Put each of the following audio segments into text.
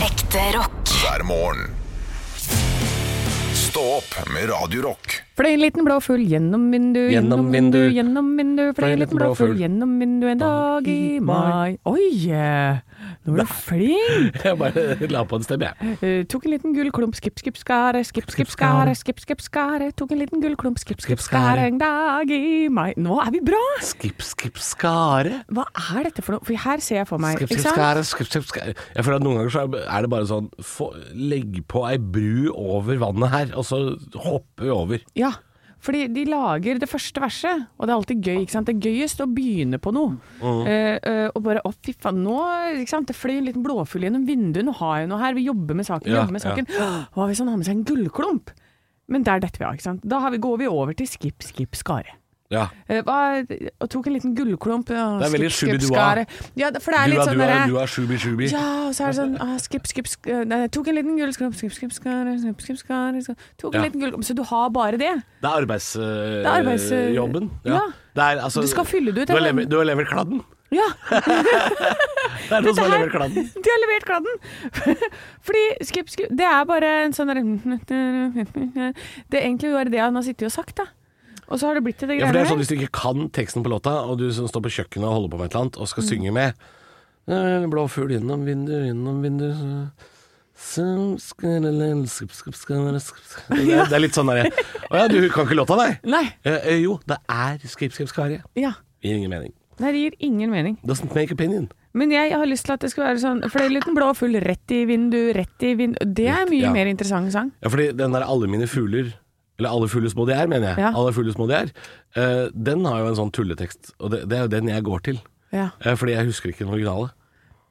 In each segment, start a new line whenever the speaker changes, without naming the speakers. Ekte rock.
hver morgen. Stå opp med Radio Rock.
Fløy en liten blå fugl gjennom vindu,
Gjennom vindu.
gjennom vindu. Fløy en liten blå fugl gjennom vindu en dag i mai. Oi! eh, Nå var du flink!
Jeg bare la på en stemme, jeg.
Eh, tok en liten gullklump, skipp, skipp, skare, skipp, skipp, skare, skipp, skipp, skare. Tok en liten gullklump, skipp, skipp, skare en dag i mai. Nå er vi bra!
Skip, skip, skare.
Hva er dette for noe? For her ser jeg for meg,
Skip,
ikke
skip,
sant?
skare, skip, skip, skare. Jeg føler at noen ganger så er det bare sånn få, Legg på ei bru over vannet her, og så hopper vi over.
Ja. Fordi de lager det første verset, og det er alltid gøy. ikke sant? Det er gøyest å begynne på noe.
Mm.
Eh, eh, og bare å, fy faen, nå ikke sant? Det fløy en liten blåfugl gjennom vinduet, nå har jeg noe her, vi jobber med saken.
Ja,
jobber med saken. Hva hvis han har med seg en gullklump? Men der detter vi av, ikke sant. Da har vi, går vi over til skip, skip, skare.
Ja.
Eh, hva, og tok en liten gullklump. Ja,
Det er veldig
skip, skip,
shubidua.
skare. Ja, for det er
Du
litt
er,
sånn
du er,
derre-
du er shubi-shubi.
ja, og så er det sånn ah, Skip, skip, sk nei, Tok en liten gullskrump, skip, skip, skare, skip, skip, skare skare. Tok en
Ja.
liten gullskrump Så du har bare det?
Det er arbeidsjobben.
er arbeids- eh, ja.
Det er, altså,
Du skal fylle det ut,
Du har
eller?
lever- du har levert kladden.
Ja!
Det er noen som har levert kladden.
De har levert kladden! Fordi skip, skip Det er bare en sånn der Det er egentlig bare det han har sittet og sagt, da. Og så har det blitt til det
Ja, for det
greiene
er sånn
her.
Hvis du ikke kan teksten på låta, og du som står på kjøkkenet og holder på med et eller annet, og skal synge med «Eh, Blå fugl gjennom vindu, gjennom vindu så- så skal jeg le- skup, skup, skal jeg- skup, skup». det, er- det er litt sånn derre Å ja, du kan ikke låta, nei?
Nei.
Eh, eh, jo, det er Skrip, skrip, skare.
Ja.
Gir ingen mening.
Nei, det gir ingen mening.
Doesn't make opinion.
Men jeg har lyst til at det skal være sånn Fløy en liten blå fugl rett i vindu, rett i vindu Det er mye
Ja.
mer interessant sang.
Ja, fordi den der Alle mine fugler eller Alle fugler små de er, mener jeg.
Ja.
Alle fugler små de er. eh, den har jo en sånn tulletekst, og det, det er jo den jeg går til.
Ja.
Eh, fordi jeg husker ikke den originale.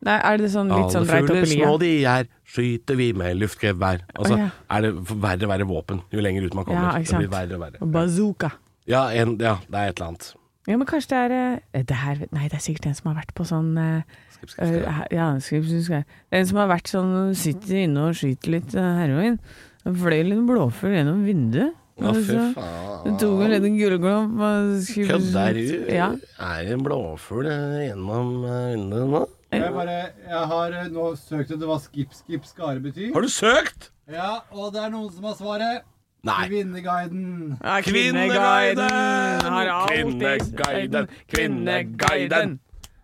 Nei, er det sånn litt sånn
Alle
dreit opp
fugler
i
små
lia?
de er, skyter vi med luftgevær. Altså,
Å, ja.
Er det verre og verre våpen jo lenger ut man kommer?
Ja, ikke
det blir
sant.
verre og verre.
Bazooka.
Ja, en, ja, det er et eller annet.
Ja, men kanskje det er eh, det her, Nei, det er sikkert en som har vært på sånn eh,
Skrip, skrip, skrip.
eh, he- Ja, skriv, skriv, skriv. En som har vært sånn Sitter inne og skyter litt eh, heroin. Det Fløy en liten blåfugl gjennom vinduet.
Å,
og
fy
så-
faen.
det tok en liten gullklump og skriv-
Kødder du?
Ja.
Er det en blåfugl eh, gjennom eh, vinduet nå?
Jeg, bare, jeg har eh, nå søkt etter hva skip, skip, skare betyr.
Har du søkt?
Ja, og det er noen som har svaret.
Nei.
Kvinneguiden.
Ja, har alltid-
Kvinneguiden! Kvinneguiden!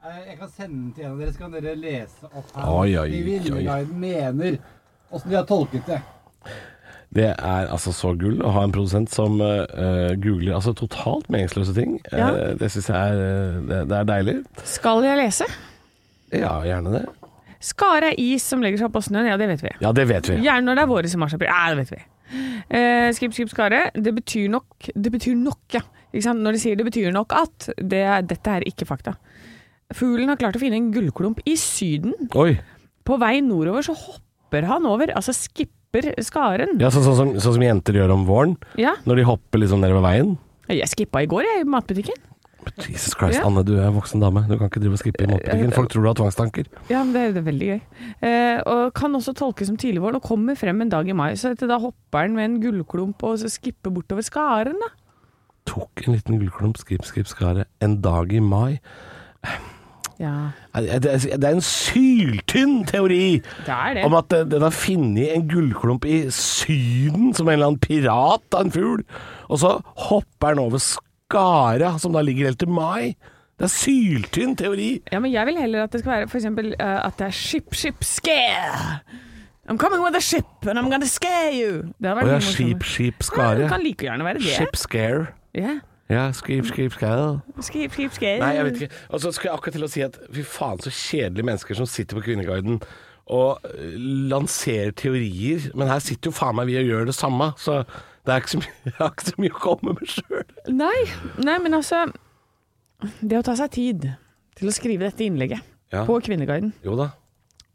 Eh, Jeg kan sende den til en av dere, så kan dere lese opp her.
Oi, oi,
De
oi.
Kvinneguiden mener åssen de har tolket det.
Det er altså så gull å ha en produsent som eh, googler altså totalt meningsløse ting.
Ja.
Eh, det syns jeg er, eh, det, det er deilig.
Skal jeg lese?
Ja, gjerne det.
Skare er is som legger seg oppå snøen. Ja, det vet vi.
Ja, det vet vi.
Gjerne når det er våres i mars-april. Ja, det vet vi. Eh, skip, skip, skare. Det betyr nok Det betyr nok, ja. Ikke sant? Når de sier det betyr nok at det, er- Dette er ikke fakta. Fuglen har klart å finne en gullklump i Syden.
Oi.
På vei nordover så hopper han over, altså skipper skaren.
Ja, så, sånn som- sånn som jenter gjør om våren,
Ja.
når de hopper liksom nedover veien.
Jeg skippa i går, jeg, i matbutikken.
Jesus Christ,
Ja. Eh,
Anne, du er en voksen dame. Du kan ikke drive og skippe i matbutikken. Folk tror du har tvangstanker.
Ja, men det, det er veldig gøy. Eh, og kan også tolkes som tidligvåren og kommer frem en dag i mai. Så dette, da hopper han med en gullklump og så skipper bortover skaren, da.
Tok en liten gullklump, skrip, skrip, skare. En dag i mai.
Ja,
Nei, Det er, det er en syltynn teori
det er det.
om at eh, den har funnet en gullklump i Syden, som en eller annen pirat av en fugl. Og så hopper den over Skara, som da ligger helt til mai. Det er syltynn teori.
Ja, men jeg vil heller at det skal være for eksempel eh, at det er ship, ship, scare. I'm coming with a ship and I'm gonna scare you. Det hadde vært
Og
mye
ja,
morsommere.
skip, skip,
Ja, det
skare.
kan like gjerne være det.
Ship scare.
Ja.
Ja, skip, skip, skare.
Skip, skip, scare.
Nei, jeg vet ikke. Og så skal jeg akkurat til å si at fy faen så kjedelige mennesker som sitter på Kvinneguiden og eh, lanserer teorier. Men her sitter jo faen meg vi og gjør det samme, så det er ikke så mye, jeg har ikke så mye å komme med sjøl.
Nei, nei, men altså Det å ta seg tid til å skrive dette innlegget
Ja.
på Kvinneguiden,
Jo da.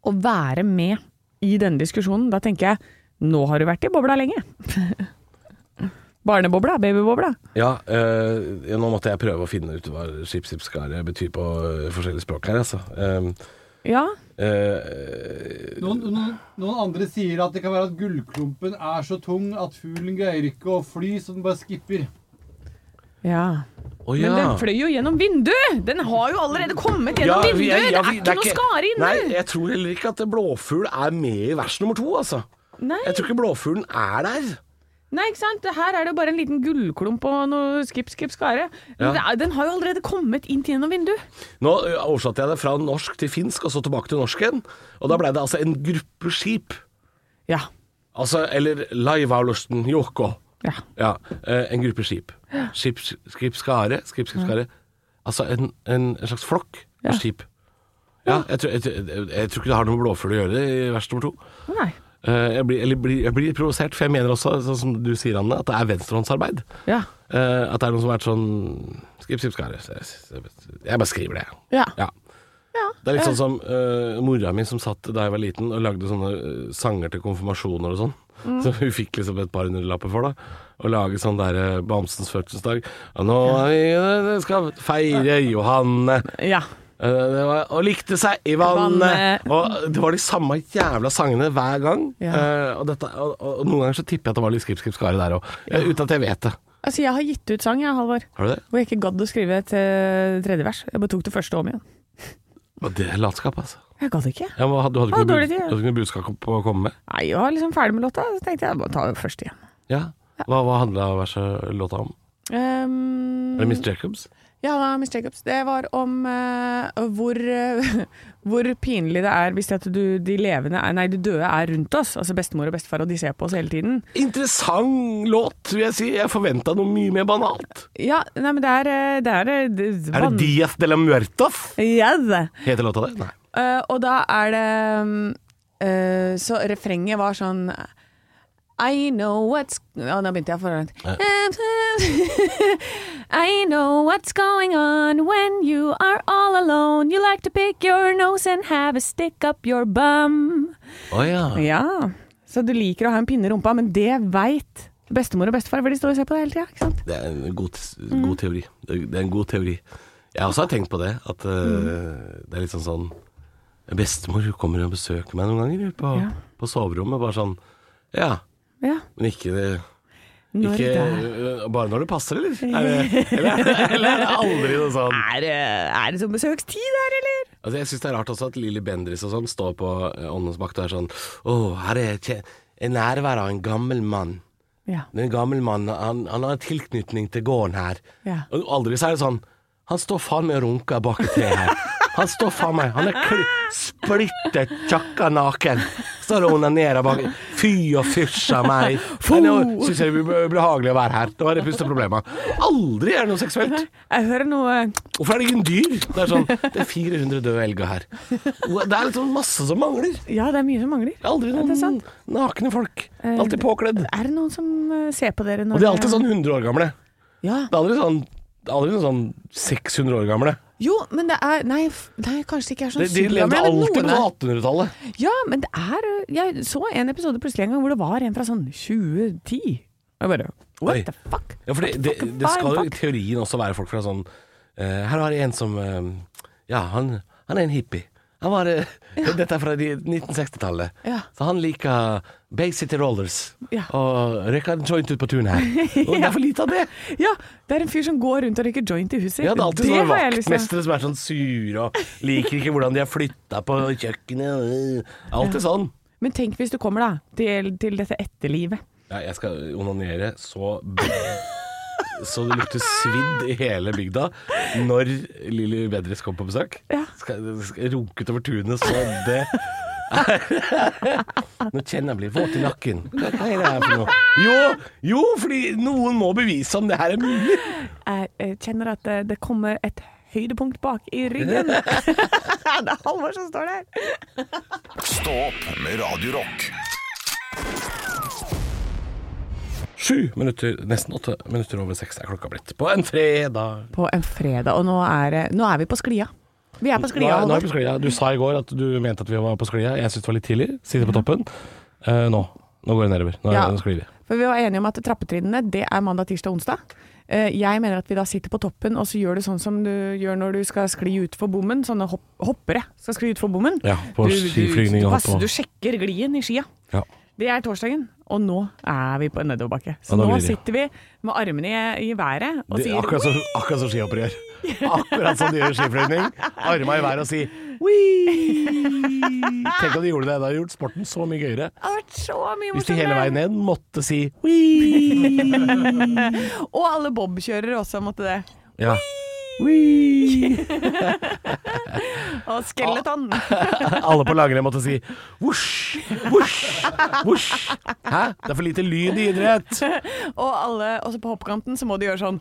og være med i denne diskusjonen, da tenker jeg nå har du vært i bobla lenge. Barnebobla, babybobla.
Ja, eh, ja, nå måtte jeg prøve å finne ut hva skipsipskare betyr på eh, forskjellige språk her, altså. Eh,
Ja.
eh,
Noen, noen, noen andre sier at det kan være at gullklumpen er så tung at fuglen greier ikke å fly, så den bare skipper.
ja.
Å,
Men
ja.
den fløy jo gjennom vinduet! Den har jo allerede kommet gjennom
Ja, vi-
vinduet!
ja, vi-
det er ikke noe skare inne!
Nei, jeg tror heller ikke at blåfugl er med i vers nummer to, altså.
Nei.
Jeg tror ikke blåfuglen er der.
Nei, ikke sant? Her er det bare en liten gullklump og noe skip, skip, skare. Men
Ja.
det er- Den har jo allerede kommet inn gjennom vinduet.
Nå ø, oversatte jeg det fra norsk til finsk, og så tilbake til norsk igjen. Og da blei det altså en gruppeskip.
Ja.
Altså, eller Laivalusten Joko.
ja.
Ja, ø, en gruppeskip. Skip, skip skare, skip, skip skare. Altså en, en, en slags flokk
Ja.
av skip. Ja, jeg tror, jeg, jeg, jeg tror ikke det har noe med blåfugl å gjøre i vers nummer to.
Å, Nei.
Eh, Jeg blir, eller blir, jeg blir provosert, for jeg mener også, sånn som du sier, Anne, at det er venstrehåndsarbeid.
Ja.
Eh, at det er noen som har vært sånn Skriv, skriv, skare. Jeg bare skriver det.
Ja.
Ja.
Ja.
Det er litt sånn som eh, mora mi som satt da jeg var liten og lagde sånne eh, sanger til konfirmasjoner og sånn.
Mm.
Så hun fikk liksom et par hundrelapper for, da. Og lage sånn der eh, Bamsens fødselsdag. Og nå er vi, eh, skal feire Johanne.
Ja.
Eh, Det var, og likte seg i vannet.
Vannet.
Og det var de samme jævla sangene hver gang.
Ja.
Eh, og, dette, og, og, og noen ganger så tipper jeg at det var litt skripp, skripp, skare der òg. Uten at jeg vet det.
Altså, jeg har gitt ut sang, jeg, Halvor.
Har du det?
Hvor jeg ikke gadd å skrive et eh, tredje vers. Jeg bare tok det første om igjen.
Og det er latskap, altså.
Jeg gadd ikke.
Ja, men, du hadde
Ah,
ikke, noe,
dårlig
bud,
tid.
du hadde ikke noe budskap å komme med?
Nei, jeg var liksom ferdig med låta, så tenkte jeg bare ta det første igjen.
Ja. Hva, hva handla verset låta om?
Ehm,
Er det Miss Jacobs?
ja, da, Miss Jacobs. Det var om eh, hvor, eh, hvor pinlig det er hvis at du, de levende er, nei, de døde er rundt oss. Altså bestemor og bestefar, og de ser på oss hele tiden.
Interessant låt, vil jeg si. Jeg forventa noe mye mer banalt.
Ja, nei, men det er eh, Det er, eh, det,
Er det Diaz de la Muertos?
Yes.
Heter låta det? Nei.
Eh, og da er det mm, eh, Så refrenget var sånn I know what's Ja, nå begynte jeg for I know what's going on when you are all alone. You like to pick your nose and have a stick up your bum.
Å ja.
Ja, Så du liker å ha en pinne i rumpa, men det veit bestemor og bestefar, for de står og ser på det hele tida. Ikke sant?
Det er en god, god teori. Det er- det er en god teori. Jeg også har tenkt på det, at eh, det er litt sånn sånn Bestemor kommer og besøker meg noen ganger på,
Ja.
på soverommet. Bare sånn Ja,
Ja.
men ikke,
Når
ikke
det
eh, Bare når det passer, eller? Er det, eller, er det- eller er det aldri noe sånn?
er, det- er det sånn besøkstid her, eller?
Altså, jeg syns det er rart også at Lilly Bendriss og sånn står på eh, Åndens makt og er sånn Å, her er tje- en nærvær av en gammel mann.
Ja.
Det er en gammel mann, han, han har en tilknytning til gården her.
Ja.
Og aldri så er det sånn Han står faen meg og runker bak et tre her. Han står faen meg Han er kl splitter tjakka naken. Står og onanerer bak Fy og fysj av meg. Men Nå syns jeg det blir behagelig å være her. Det var det første problemet. Aldri er det noe seksuelt.
Jeg hører noe
Hvorfor er det ingen dyr? Det er sånn Det er 400 døde elger her. Det er liksom masse som mangler.
Ja, det er mye som mangler.
Aldri
det er
noen
sant. Eh,
nakne folk. Alltid påkledd.
Er det noen som eh, ser på dere når
Og de er alltid sånn 100 år gamle.
Ja.
Det er aldri sånn, det er aldri noen sånn 600 år gamle.
Jo, men det er Nei, f- nei kanskje det ikke er sånn
De, de
supergamle,
levde
men
alltid
noen
på
er-
1800-tallet.
Ja, men det er eh, Jeg så en episode plutselig en gang hvor det var en fra sånn 2010. Og jeg bare What
Oi.
the fuck?
Ja, for det, det, det skal jo i teorien også være folk fra sånn eh, Her har jeg en som eh, Ja, han, han er en hippie. Han var, eh, Dette er fra de 1960-tallet.
Ja.
Så han liker Bay City Rollers.
Ja.
Og røyker en joint ut på tunet her. Og det er for lite av det!
Ja, det er en fyr som går rundt og røyker joint i huset.
Ja, det er alltid sånn sånne
har jeg lyst til.
vaktmestere som er sånn sure og liker ikke hvordan de har flytta på kjøkkenet. Alltid sånn.
Men tenk hvis du kommer da til, til dette etterlivet.
Ja, jeg skal onanere så b- Så det lukter svidd i hele bygda når Lilly Bedris kommer på besøk.
Ja.
Skal, skal runket over tunet så det Nå kjenner jeg blir våt i nakken. Hva er det her for noe? Jo, jo, fordi noen må bevise om det her er mulig.
Jeg, eh, kjenner at eh, det kommer et høydepunkt bak i ryggen. det er Halvor som står der.
Stå opp med Radio Rock.
Sju minutter, nesten åtte minutter over seks er klokka blitt. På en fredag.
på en fredag, og nå er, det- nå er vi på sklia. Vi er på
Nå
sklia,
er- nå er
Halvor.
vi på sklia. Du sa i går at du mente at vi var på sklia. Jeg syntes det var litt tidlig. Sitte på toppen. Eh, nå. Nå går det nedover. Nå,
Mhm. Ja.
nå sklir vi.
For vi var enige om at trappetrinnene, det er mandag, tirsdag, onsdag. Eh, Jeg mener at vi da sitter på toppen, og så gjør du sånn som du gjør når du skal skli utfor bommen. Sånne hopp hoppere skal skli utfor bommen.
Ja, på
du, du,
skiflygning
du,
og
passer,
på
du sjekker glien i skia.
ja.
Det er torsdagen, og nå er vi på en nedoverbakke. Så
Ja, da
nå
blir det.
sitter vi med armene i, i været og
Det,
sier
akkurat, som, akkurat som skihoppere gjør. Akkurat som de gjør i skiflygning. Arma i været og si «Wii!» Tenk om de gjorde det. Det hadde gjort sporten så mye gøyere.
Det har vært så mye
Hvis de hele
morsommere.
veien ned måtte si «Wii!»
Og alle bobkjørere også måtte det.
Ja. «Wii!»
Og skeleton.
Alle på langrenn måtte si «Wosj! Wosj! Wosj!» Hæ? Det er for lite lyd i idrett.
Og alle også på hoppkanten så må de gjøre sånn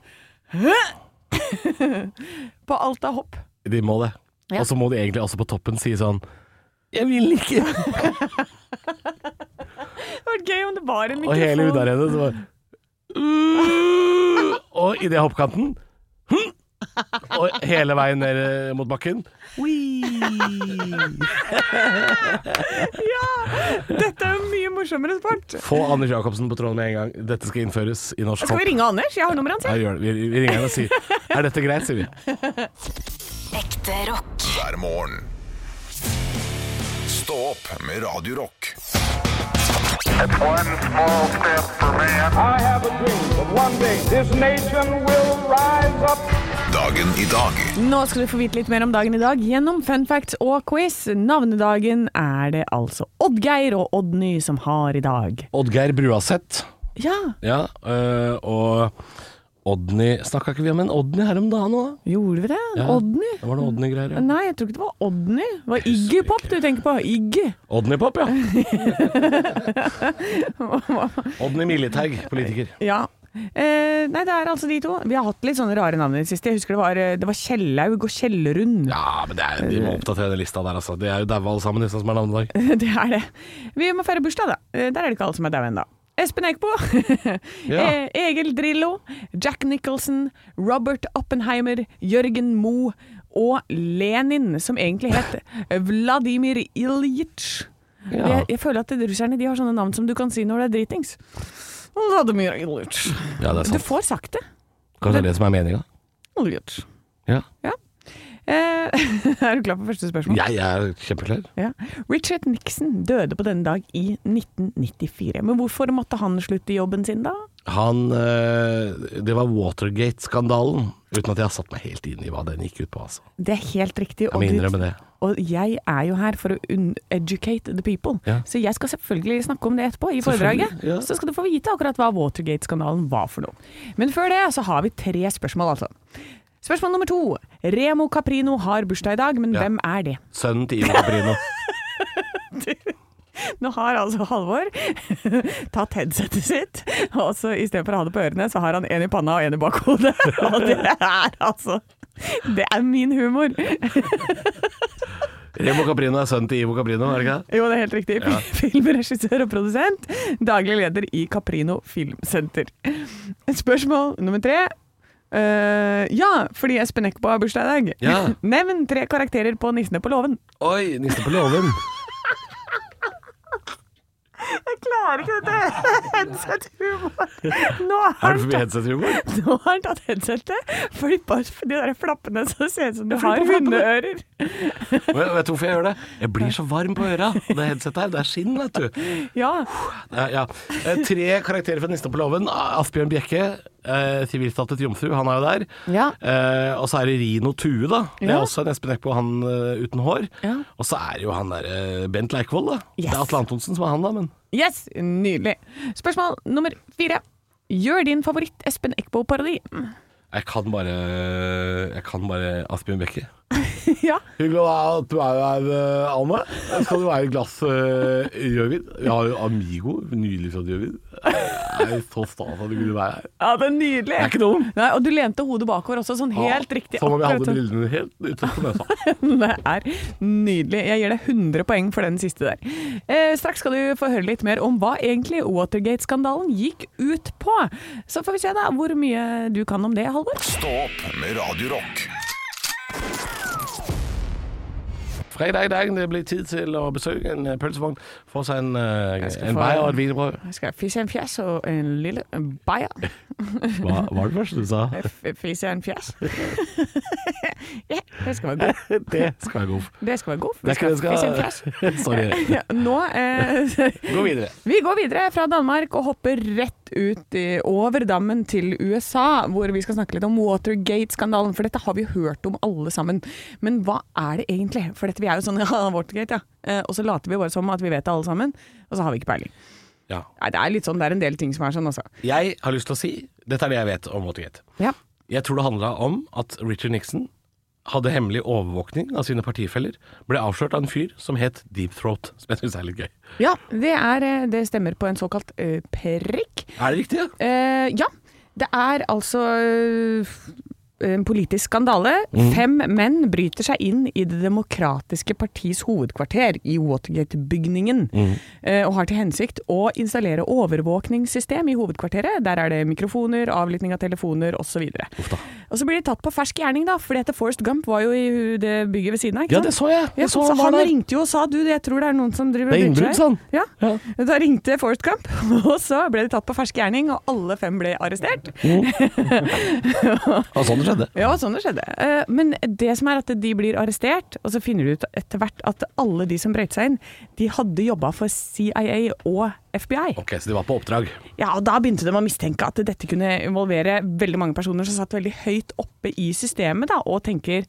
På alt av hopp.
De må det.
Ja.
Og så må de egentlig også på toppen si sånn Jeg vil ikke.
Det hadde vært gøy om det var en
Og hele
mikrofon.
hundearenaet så bare "Mm." Og idet hoppkanten hm, Og hele veien ned eh, mot bakken.
Dette er jo mye morsommere sport.
Få Anders Jacobsen på tråden med en gang. Dette skal innføres i norsk
Skal
hopp.
vi ringe Anders? Jeg har nummeret
Ja,
hans. jeg.
gjør det. Vi vi ringer henne og sier Er dette greit, sier vi.
Ekte rock.
hver morgen. Stå opp med Radio Rock.
One small step for man. I have a dream that one day this nation will rise up.
Dagen i dag.
Nå skal du få vite litt mer om dagen i dag gjennom fun facts og quiz. Navnedagen er det altså Oddgeir og Oddny som har i dag.
Oddgeir Bruaseth.
Ja,
Ja, øh, og Odny Snakka ikke vi om en Odny her om dagen òg?
gjorde vi det?
Ja.
Oddny?
Det var noe Odny-greier. Ja.
Nei, jeg tror ikke det var Oddny. Det var Iggy Pop du tenker på. Iggy.
Odny-pop, ja. Odny Militeig, politiker.
Ja. Eh, nei, det er altså de to. Vi har hatt litt sånne rare navn i det siste. Jeg husker det var, eh, det var Kjellaug og Kjellerund.
Ja, men det er, de må oppdatere den lista der, altså. De er jo daua alle sammen, disse som er navnedag.
Det er det. Vi må feire bursdag, da. Eh, Der er det ikke alle som er daue ennå. Espen Eckbo.
Ja.
eh, Egil Drillo. Jack Nicholson. Robert Oppenheimer. Jørgen Moe. Og Lenin, som egentlig het Vladimir Ilyich. Jeg, jeg føler at russerne de har sånne navn som du kan si når du er dritings. Vladimir Ilyich.
Ja, det er
Du
sant.
får sagt det.
Kanskje det er det som er meninga?
Ilyich.
Ja.
Eh, er du klar for første spørsmål?
Jeg er kjempeklar.
Ja. Richard Nixon døde på denne dag i 1994. Men hvorfor måtte han slutte i jobben sin da?
Han øh, Det var Watergate-skandalen. Uten at jeg har satt meg helt inn i hva den gikk ut på, altså.
Det er helt riktig.
Jeg må innrømme det.
og jeg er jo her for å un- educate the people.
Ja.
Så jeg skal selvfølgelig snakke om det etterpå i foredraget.
Selvfølgelig, ja.
Så skal du få vite akkurat hva Watergate-skandalen var for noe. Men før det så har vi tre spørsmål, altså. Spørsmål nummer to. Remo Caprino har bursdag i dag, men
Ja.
hvem er det?
Sønnen til Ivo Caprino.
Nå har altså Halvor tatt headsetet sitt, og så istedenfor å ha det på ørene, så har han en i panna og en i bakhodet. Og det er altså Det er min humor.
Remo Caprino er sønnen til Ivo Caprino, er det ikke det?
Jo, det er helt riktig. Filmregissør og produsent. Daglig leder i Caprino Filmsenter. Spørsmål nummer tre. Eh, ja, fordi Espen Eckbo har bursdag i dag.
Ja.
Nevn tre karakterer på Nissene på låven.
Oi, nisse på låven.
Jeg klarer ikke dette headset-humor. Nå har
Er
han
du forbi headset-humor?
Nå har han tatt headsetet, flippa de der flappene så det ser ut som du har
flipper flappene.
hundeører.
Vet vet du hvorfor jeg gjør det? Jeg blir så varm på øra. Og det headsetet her, det er skinn, vet du.
Ja.
Ja, ja. Eh, Tre karakterer fra Nissen på låven. Asbjørn Bjekke, eh, sivilstatets jomfru, han er jo der.
Ja.
Eh, og så er det Rino Tue, da. Det er
Ja.
også en Espen Eckbo, han eh, uten hår.
Ja.
Og så er det jo han der eh, Bent Leikvoll, da.
Yes.
Det er Atle Antonsen som er han, da, men
Yes, nydelig. Spørsmål nummer fire. Gjør din favoritt Espen Eckbo-parodi.
jeg kan bare Jeg kan bare Asbjørn Bjekke.
Ja.
Hyggelig at du er her, Anne. Skal du være et glass rødvin? Vi har jo Amigo, nylig fra rødvin. Jeg er så stas at du kunne være her.
ja, det er nydelig.
Jeg er ikke dum.
Nei, og du lente hodet bakover også, sånn helt riktig.
Som om jeg hadde
akkurat
brillene helt ute på nesa.
sånn. Det er nydelig. Jeg gir deg 100 poeng for den siste der. Eh, straks skal du få høre litt mer om hva egentlig Watergate-skandalen gikk ut på. Så får vi se da hvor mye du kan om det, Halvor.
Stå opp med Radio Rock.
fredag i dag. Det blir tid til å besøke en eh, pølsevogn. Få seg en, eh,
Jeg skal
en
få
bayer
en-
og et wienerbrød.
Jeg skal fise en fjes og en lille bayer.
Hva var det første du sa?
F- Fise en fjes. ja, det skal være god.
Det skal være god.
Det skal være god.
Det
Vi
er ikke
skal
det
fise en
jeg
fjes.
skal Sorry.
Ja, nå eh,
Gå videre.
Vi går videre fra Danmark og hopper rett ut i, over dammen til USA, hvor vi skal snakke litt om Watergate-skandalen. For dette har vi hørt om alle sammen. Men hva er det egentlig? For dette, vi er jo sånn ja, Watergate, ja. Eh, Og så later vi bare som at vi vet det alle sammen, og så har vi ikke peiling.
Ja.
Nei, det er litt sånn, det er en del ting som er sånn, altså.
Jeg har lyst til å si Dette er det jeg vet om Watergate.
Ja.
Jeg tror det handla om at Richard Nixon hadde hemmelig overvåkning av sine partifeller. Ble avslørt av en fyr som het Deep Throat, som jeg syns er litt gøy.
ja det, er, eh, det stemmer på en såkalt eh, prikk.
Er det riktig? Ja?
Eh, ja. Det er altså eh, f- en politisk skandale.
Mm.
Fem menn bryter seg inn i Det demokratiske partis hovedkvarter i Watergate-bygningen.
Mm.
eh, og har til hensikt å installere overvåkningssystem i hovedkvarteret. Der er det mikrofoner, avlytting av telefoner osv.
Uff da.
Og så blir de tatt på fersk gjerning, da. For dette Forest Gump var jo i det bygget ved siden av. ikke
Ja,
sant?
det så jeg.
Ja,
jeg så
så
var
han
der.
ringte jo og sa du, jeg tror det er noen som driver
Det er
og bryter
innbrudd,
seg
sa
inn."
han.
Ja. Da ringte Forest Camp, og så ble de tatt på fersk gjerning, og alle fem ble arrestert.
Ja, sånn det skjedde.
Ja, sånn det skjedde. Eh, Men det som er at de blir arrestert, og så finner du ut etter hvert at alle de som brøyt seg inn, de hadde jobba for CIA og FBI.
Ok, Så de var på oppdrag.
Ja, og Da begynte de å mistenke at dette kunne involvere veldig mange personer som satt veldig høyt oppe i systemet da, og tenker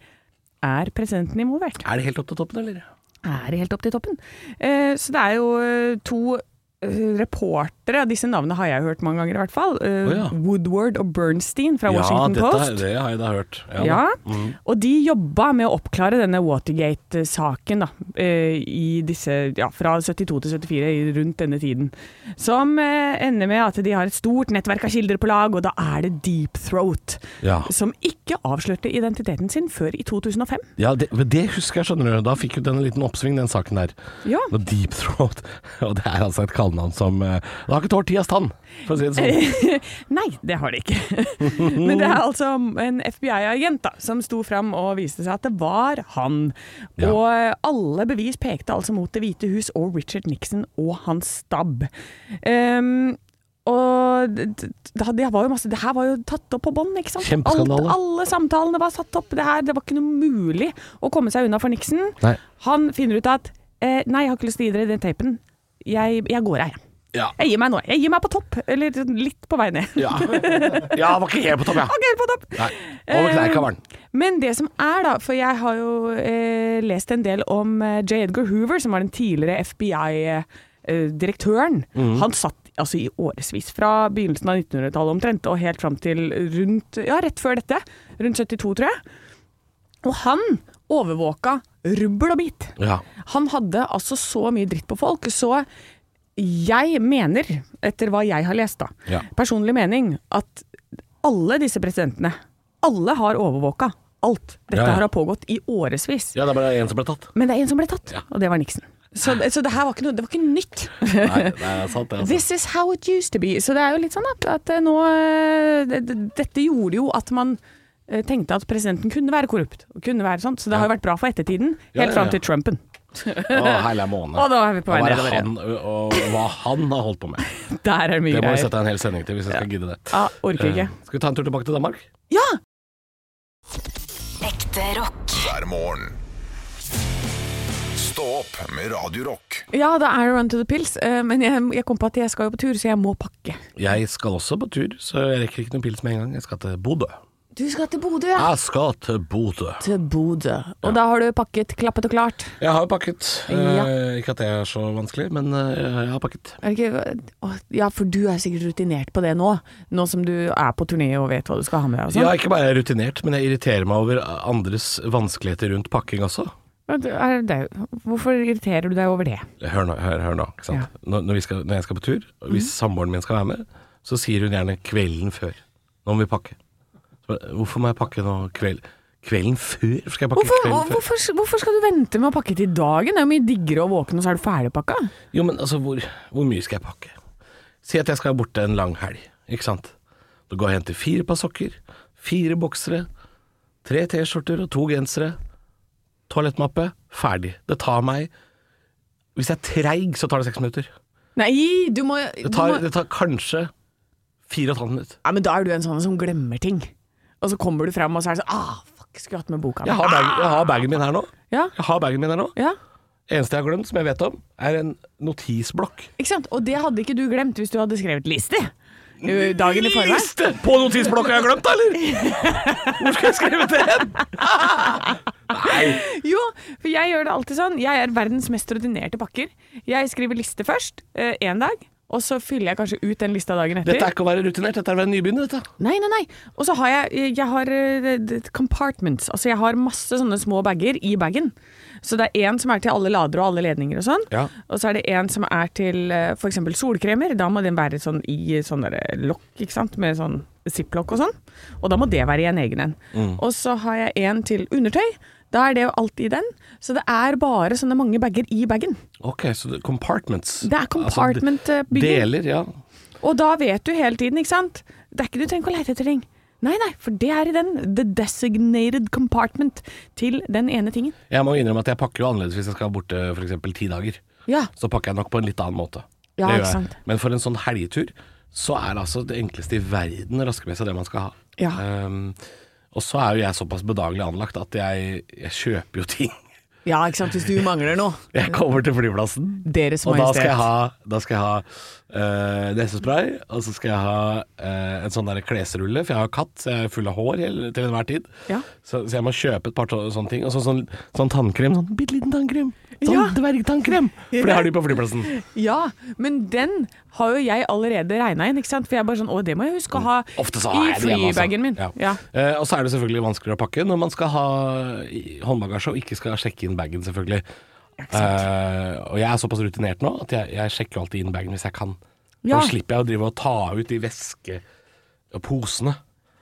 er presidenten involvert?
Er det helt opp til toppen, eller?
er helt opp til toppen. Eh, så det er jo eh, to eh, reportere, disse navnene har jeg hørt mange ganger i hvert fall, eh,
Å ja.
Woodward og Bernstein fra Washington
dette,
Post.
det har jeg da hørt. Ja, da. Mm.
Ja, og de jobba med å oppklare denne Watergate-saken da, eh, i disse, ja, fra 72 til 74, i- rundt denne tiden. Som eh, ender med at de har et stort nettverk av kilder på lag, og da er det Deep Throat.
Ja.
Som ikke avslørte identiteten sin før i 2005.
Ja, det, men det husker jeg, skjønner du. Da fikk jo den en liten oppsving, den saken der.
Ja.
Når Deep Throat Og det er altså et kallenavn som eh, Det har ikke tålt tidas tann, for å si det sånn.
Nei, det har det ikke. Men det er altså en FBI-agent da, som sto fram og viste seg at det var han.
Ja.
Og eh, alle bevis pekte altså mot Det hvite hus og Richard Nixon og hans stab. Ehm, og det, det, det, var jo masse, det her var jo tatt opp på bånd, ikke sant?
Kjempeskandale.
alle samtalene var satt opp. Det, her, det var ikke noe mulig å komme seg unna for Nixon.
Nei.
Han finner ut at eh, Nei, jeg har ikke lyst til å gi dere den tapen. Jeg, jeg går her, jeg.
Ja.
Jeg gir meg nå. Jeg gir meg på topp, eller litt på vei ned.
Ja. ja, var ikke helt på topp, ja.
Ok, på topp.
Nei. Over
Eh.
knærkaveren.
Men det som er, da, for jeg har jo eh, lest en del om eh, J. Edgar Hoover, som var den tidligere FBI-direktøren. eh, Han satt altså i årevis, fra begynnelsen av 1900-tallet omtrent, og helt fram til rundt Ja, rett før dette. Rundt 72, tror jeg. Og han overvåka rubbel og bit.
Ja.
Han hadde altså så mye dritt på folk, så jeg mener, etter hva jeg har lest da,
Ja.
personlig mening, at alle disse presidentene, alle har overvåka alt. Dette
Ja, ja.
har pågått i årevis.
ja, det er bare en som ble tatt.
Men det er en som ble tatt,
Ja. Altså.
og det var Nixon. Så, så det her var ikke noe, det var ikke nytt.
Nei, det er sant, det. Altså.
This is how it used to be. Så det er jo litt sånn at, at nå eh, det- det- Dette gjorde jo at man eh, tenkte at presidenten kunne være korrupt. og Kunne være sånn. Så det har jo vært bra for ettertiden, helt
Ja, ja,
fram
ja.
til Trumpen.
Å, hele måned.
Og da er vi på vei
Hva er
nedover igjen.
han, og hva han har holdt på med.
Der er det mye
Det må vi
greier.
sette en hel sending til, hvis jeg skal gidde det.
Ja, orker ikke.
Eh, Skal vi ta en tur tilbake til Danmark?
Ja!
Ekte rock.
hver morgen. Stå opp med Radio Rock.
Ja, da er det Run to the Pills, eh, men jeg, jeg kom på at jeg skal jo på tur, så jeg må pakke.
Jeg skal også på tur, så jeg rekker ikke noen pils med en gang. Jeg skal til Bodø.
Du skal til Bodø, ja?
Jeg skal til Bodø.
Til Bodø. Og da har du pakket, klappet og klart.
Jeg har pakket.
Ja.
Eh, Ikke at det er så vanskelig, men eh, jeg har pakket.
Er det ikke, Åh, ja, for du er sikkert rutinert på det nå, nå som du er på turné og vet hva du skal ha med deg og
Jeg
sånn.
er ikke bare rutinert, men jeg irriterer meg over andres vanskeligheter rundt pakking også.
Men det er- det er jo- Hvorfor irriterer du deg over det?
Hør nå, hør, hør nå. Ikke sant? Når, når, vi skal, når jeg skal på tur, og
Mhm.
hvis samboeren min skal være med, så sier hun gjerne kvelden før. Nå må vi pakke. Så, bare, hvorfor må jeg pakke nå kveld? Kvelden før? Hvorfor skal jeg pakke
Hvorfor,
kvelden før?
hvorfor, hvorfor skal du vente med å pakke til dagen? Det er jo mye diggere å våkne, og så er du ferdigpakka.
Jo, men altså, hvor, hvor mye skal jeg pakke? Si at jeg skal borte en lang helg, ikke sant? Da går jeg og henter fire par sokker, fire boksere, tre T-skjorter og to gensere. toalettmappe, ferdig. Det tar meg Hvis jeg er treig, så tar det seks minutter.
Nei, du må,
Det
du
tar,
må
det tar kanskje fire og et halvt minutt.
ja, Men da er du en sånn som glemmer ting. Og så kommer du fram, og så er det sånn ah, Fuck, skulle hatt med boka mi.
Jeg har, bag, jeg har bagen min her nå.
Ja,
Jeg har bagen min her nå.
Ah! ja,
Eneste jeg har glemt, som jeg vet om, er en notisblokk.
ikke sant? Og det hadde ikke du glemt hvis du hadde skrevet liste eh, dagen i forveien.
Liste på notisblokka jeg har glemt, eller?! Hvor skal jeg skrive det hen?
Jo, for jeg gjør det alltid sånn. Jeg er verdens mest rutinerte pakker. Jeg skriver liste først én dag, og så fyller jeg kanskje ut den lista dagen etter.
Dette er ikke å være rutinert, dette er å være nybegynner, dette.
Nei, nei, nei. Og så har jeg, jeg har eh, d- d- compartments. Altså jeg har masse sånne små bager i bagen. Så det er én som er til alle lader og alle ledninger og sånn.
Ja.
Og så er det én som er til f.eks. solkremer. Da må den være sånn i sånn derre lokk, ikke sant. Med sånn ziplock og sånn. Og da må det være i en egen en. Og så har jeg en til undertøy. Da er det jo alt i den. Så det er bare sånne mange bager i bagen.
Ok, så det, compartments. Altså,
Det er compartment-bygging.
deler, ja.
Og da vet du hele tiden, ikke sant? Det er ikke du trenger å lete etter ting. Nei, nei, for det er i den the designated compartment til den ene tingen.
Jeg må innrømme at jeg pakker jo annerledes hvis jeg skal borte f.eks. ti dager.
Ja.
Så pakker jeg nok på en litt annen måte.
Ja,
Det gjør
ikke
jeg.
sant.
Men for en sånn helgetur, så er det altså det enkleste i verden å raske med seg det man skal ha.
Ja.
Ehm, og så er jo jeg såpass bedagelig anlagt at jeg, jeg kjøper jo ting.
Ja, ikke sant, hvis du mangler noe.
Jeg kommer til flyplassen,
Deres
og da skal jeg
Majestet.
ha, da skal jeg ha eh, nesespray, og så skal jeg ha eh, en sånn der klesrulle, for jeg har katt, så jeg er full av hår hele, til enhver tid.
Ja.
Så, så jeg må kjøpe et par to- sånne ting. Og så, sånn, sånn tannkrem, sånn bitte liten tannkrem. Sånn
Ja.
dvergtannkrem! For det har de på flyplassen.
Ja, men den har jo jeg allerede regna inn, ikke sant? For jeg er bare sånn Å, det må jeg huske å ha
Mm. Ofte så har
i
jeg det hjemme, altså.
flybagen min.
Ja.
Ja.
Eh, og så er det selvfølgelig vanskeligere å pakke når man skal ha i- håndbagasje og ikke skal sjekke inn bagen, selvfølgelig. Eh, og jeg er såpass rutinert nå at jeg, jeg sjekker alltid inn bagen hvis jeg kan.
Ja.
Da slipper jeg å drive og ta ut de væske og posene.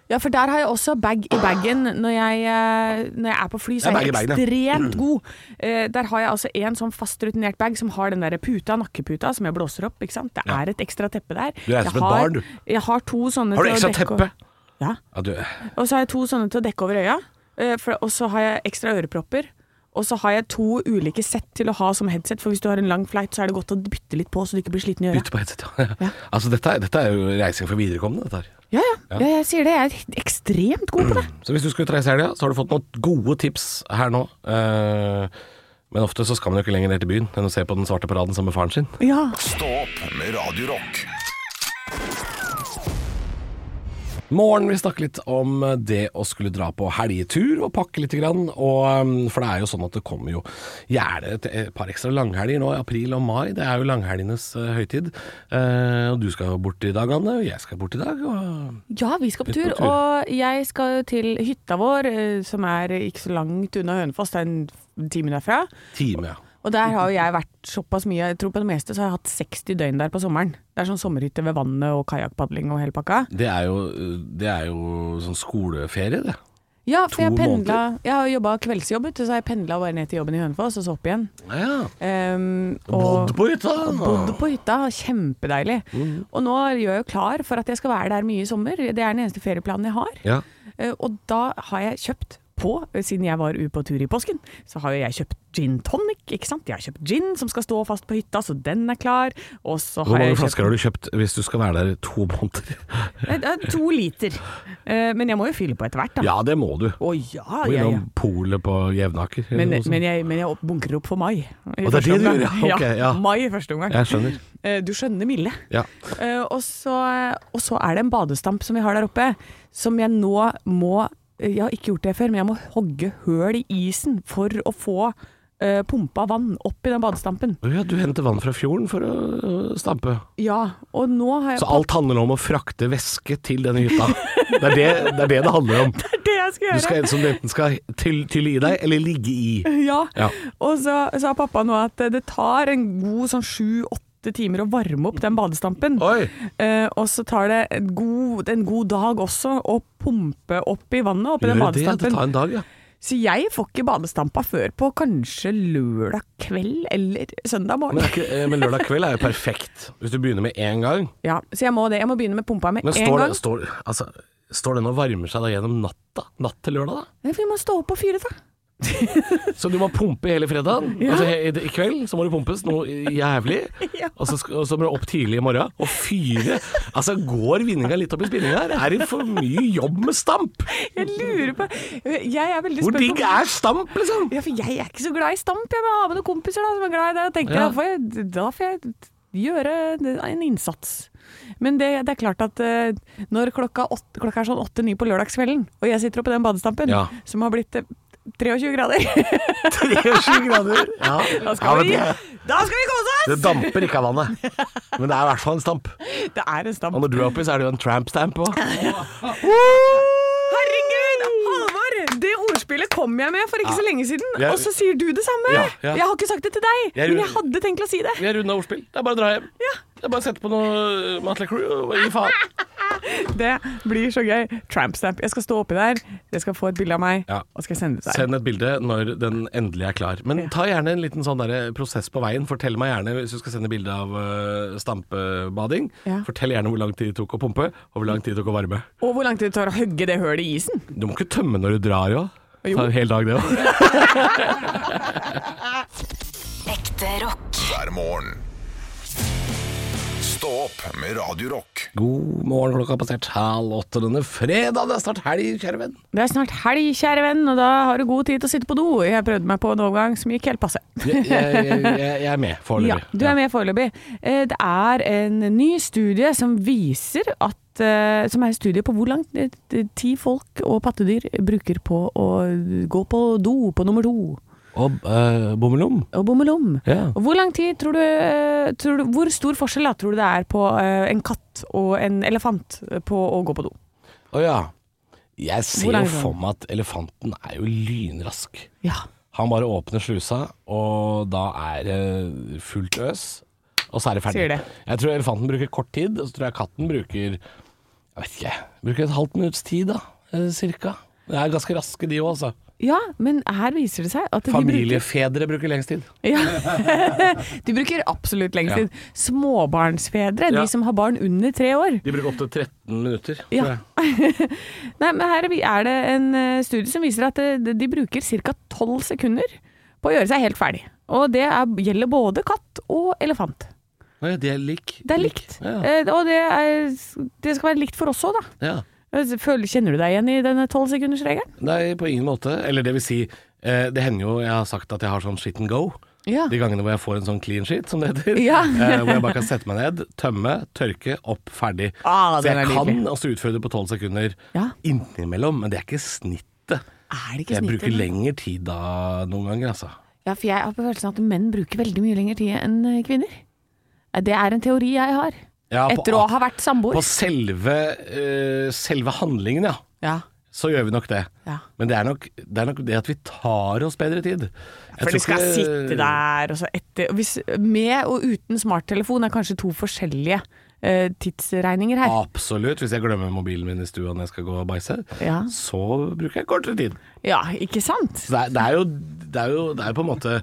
Ja, for der har jeg også bag i bagen når jeg, eh, når jeg er på fly, så
Det er
er jeg
bag i bagen, Mm.
ekstremt god. Eh, Der har jeg altså en sånn fast rutinert bag som har den der puta, nakkeputa, som jeg blåser opp, ikke sant. Det
Ja.
er et ekstra teppe der.
Du reiser
Jeg
som et
har-
barn, du.
Jeg har to sånne
Har du
til å
ekstra
dekke
teppe?
Ja.
Ja, du,
Og så har jeg to sånne til å dekke over øya. eh, for- Og så har jeg ekstra ørepropper. Og så har jeg to ulike sett til å ha som headset, for hvis du har en lang flight, så er det godt å bytte litt på, så du ikke blir sliten i øret.
bytte på headset, ja. Altså, dette, er- dette er jo reising for viderekomne, dette her.
Ja, ja. ja, jeg sier det. Jeg er ekstremt god på det.
Så hvis du skal ut og reise i helga, så har du fått noen gode tips her nå. Eh, men ofte så skal man jo ikke lenger ned til byen enn å se på Den svarte paraden sammen med faren sin.
Ja.
Stå opp med Radio Rock.
Morgen, vi snakker litt om det å skulle dra på helgetur og pakke litt. Grann, og, um, for det er jo sånn at det kommer jo gjerne et et par ekstra langhelger nå i april og mai. Det er jo langhelgenes eh, høytid. Eh, og du skal jo bort i dag, Anne, og jeg skal bort i dag. Og
Ja, vi skal på
Ut på
tur,
tur.
og jeg skal jo til hytta vår, eh, som er ikke så langt unna Hønefoss, det er en time derfra.
time, ja.
Og der har jo jeg vært såpass mye, jeg tror på det meste, så har jeg hatt 60 døgn der på sommeren. Det er sånn sommerhytte ved vannet og kajakkpadling og hele pakka.
Det er jo, eh, det er jo sånn skoleferie, det.
Ja, for
To
jeg pendla, jeg har jobba kveldsjobb, vet du, så har jeg pendla bare ned til jobben i Hønefoss, og så opp igjen.
Ja.
Ehm, og-
Bodd på hytta! Mm.
Bodde på hytta, kjempedeilig. Og nå gjør jeg jo klar for at jeg skal være der mye i sommer. Det er den eneste ferieplanen jeg har.
Ja.
Eh, Og da har jeg kjøpt på, eh, siden jeg var ute på tur i påsken, så har jo jeg kjøpt gin tonic, ikke sant. Jeg har kjøpt gin som skal stå fast på hytta, så den er klar. Og så har
Hvor mange
jeg kjøpt
flasker har du kjøpt hvis du skal være der i to måneder?
Eh, det er To liter. Eh, Men jeg må jo fylle på etter hvert, da.
Ja, det må du.
Å ja,
Og
ja, ja.
innom polet på Jevnaker. eller
Men,
noe sånt.
men jeg, men jeg opp- bunker opp for mai. i
Og det er det
første
du gjør,
omgang.
ja. Ok, ja.
Mai i første omgang.
Jeg skjønner.
Eh, Du skjønner milde.
Ja.
Eh, og, så, og så er det en badestamp som vi har der oppe, som jeg nå må Jeg har ikke gjort det før, men jeg må hogge høl i isen for å få eh, pumpa vann opp i den badestampen.
Å Ja, du henter vann fra fjorden for å øh, stampe.
Ja, og nå har jeg
Så alt handler om å frakte væske til denne hytta. Det er det det, er det, det handler om.
Det er det jeg skal
Du
gjøre!
skal en som du enten skal tylle tylle i deg, eller ligge i.
Ja.
Ja.
Og så sa pappa nå at det tar en god sånn sju-åtte timer å varme opp den badestampen.
Oi!
Eh, og så tar det en god, en god dag også å pumpe opp i vannet oppi den
Gjør det, det
badestampen.
tar en dag, ja.
Så jeg får ikke badestampa før på kanskje lørdag kveld eller søndag
Men,
morgen.
er ikke, eh, men lørdag kveld er jo perfekt, hvis du begynner med én gang.
Ja, så jeg må det. Jeg må begynne med pumpa med
Men
en
står,
gang.
det- står, altså, står den og varmer seg da gjennom natta? Natt til lørdag, da?
Nei, for Vi må stå opp og fyre, da.
Så du må pumpe hele fredagen. Altså, he- I kveld så må du pumpes noe jævlig.
Ja.
Og, så, sk- og så må du opp tidlig i morgen og fyre. Altså, går vinninga litt opp i spinninga her? Er det for mye jobb med stamp?
Jeg lurer på Jeg er veldig
Hvor
spent
digg er stamp, liksom?
Ja, for jeg er ikke så glad i stamp. Jeg må ha med noen kompiser da, som er glad i det. Og tenkte,
Ja.
da, får jeg, da får jeg gjøre en innsats. Men det, det er klart at eh, når klokka, åtte, klokka er sånn åtte-ni på lørdagskvelden, og jeg sitter oppe i den badestampen,
Ja.
som har blitt eh, 23 grader,
23 grader. Ja,
da skal,
vet du,
vi, da skal vi kose oss!
det damper ikke av vannet. Men det er i hvert fall en stamp.
Det er en
Og
stamp.
når du er oppi, så er det jo en tramp stamp òg.
Herregud! Halvor! Det ordspillet kom jeg med for ikke så lenge siden,
Jeg-
og så sier du det samme!
Ja, ja.
Jeg har ikke sagt det til deg,
Jeg-
men jeg hadde tenkt å si det.
Vi har runda ordspill. Det er bare å dra hjem. Det er bare å sette på noe Matley Crew og gi faen.
Det blir så gøy. Trampstamp. Jeg skal stå oppi der, jeg skal få et bilde av meg,
Ja.
og skal sende det til deg.
Send et bilde når den endelig er klar. Men ta gjerne en liten sånn der prosess på veien. Fortell meg gjerne, hvis du skal sende bilde av øh, stampebading,
Ja.
fortell gjerne hvor lang tid det tok å pumpe, og hvor lang tid det tok å varme.
Og hvor lang tid det tar å hogge det hølet i isen.
Du må ikke tømme når du drar, jo.
Jo.
Ta en hel dag, det òg.
Ekte rock.
hver morgen. Stå opp med Radio Rock.
God morgen, klokka har passert halv åtte denne fredag. Det er snart helg, kjære venn.
Det er snart helg, kjære venn, og da har du god tid til å sitte på do. Jeg prøvde meg på en overgang som gikk helt passe.
Jeg, jeg, jeg, jeg er med
Ja,
foreløpig.
du er med foreløpig. Eh, Det er en ny studie som viser at eh, Som er en studie på hvor lang eh, tid folk og pattedyr bruker på å gå på do på nummer to
Og øh, bommelom.
og bommelom.
Ja.
Og Hvor lang tid tror du, eh, tror du Hvor stor forskjell da, tror du det er på eh, en katt og en elefant på å gå på do?
Å ja. Jeg ser
lang
jo
er
for meg at elefanten er jo lynrask.
Ja.
Han bare åpner slusa, og da er det fullt øs. Og så er det ferdig.
Sier det.
Jeg tror elefanten bruker kort tid, og så tror jeg katten bruker Jeg vet ikke, bruker et halvt minutts tid, da. eh, Cirka. Det er ganske raske, de òg, altså.
ja, men her viser det seg at de bruker,
Familiefedre bruker lengst tid.
ja, de bruker absolutt lengst
Ja.
tid. Småbarnsfedre,
Ja.
de som har barn under tre år.
De bruker opptil 13 minutter.
Ja. tror jeg. Nei, men her er det en eh, studie som viser at eh, de bruker ca. tolv sekunder på å gjøre seg helt ferdig. Og det er, gjelder både katt og elefant.
Det er lik.
Det er likt.
Ja.
Eh, og det, er, det skal være likt for oss òg, da.
Ja.
Føler, kjenner du deg igjen i denne tolvsekundersregelen?
Nei, på ingen måte. Eller det vil si, eh, det hender jo jeg har sagt at jeg har sånn shit and go.
Ja.
De gangene hvor jeg får en sånn clean sheet, som det heter.
Ja.
eh, hvor jeg bare kan sette meg ned, tømme, tørke, opp, ferdig.
Ah,
så
den er
jeg kan
nydelig.
også utføre det på tolv sekunder
Ja.
innimellom, men det er ikke snittet.
Er det ikke
Jeg bruker
snittet?
lengre tid da noen ganger, altså.
Ja, for jeg har på følelsen at menn bruker veldig mye lengre tid enn eh, kvinner. Eh, Det er en teori jeg har.
Ja, på
Etter å
at-
ha vært
På
samboer.
selve, eh, selve handlingen, ja.
Ja.
Så gjør vi nok det.
Ja.
Men det er nok, det er nok det at vi tar oss bedre tid. Jeg
For
tror
de skal
ikke-
sitte der og så etter og hvis, Med og uten smarttelefon er kanskje to forskjellige eh, tidsregninger her.
Absolutt. Hvis jeg glemmer mobilen min i stua når jeg skal gå og bæsje,
Ja.
så bruker jeg kortere tid.
Ja, ikke sant?
Så det er, det er, jo, det er jo det er jo på en måte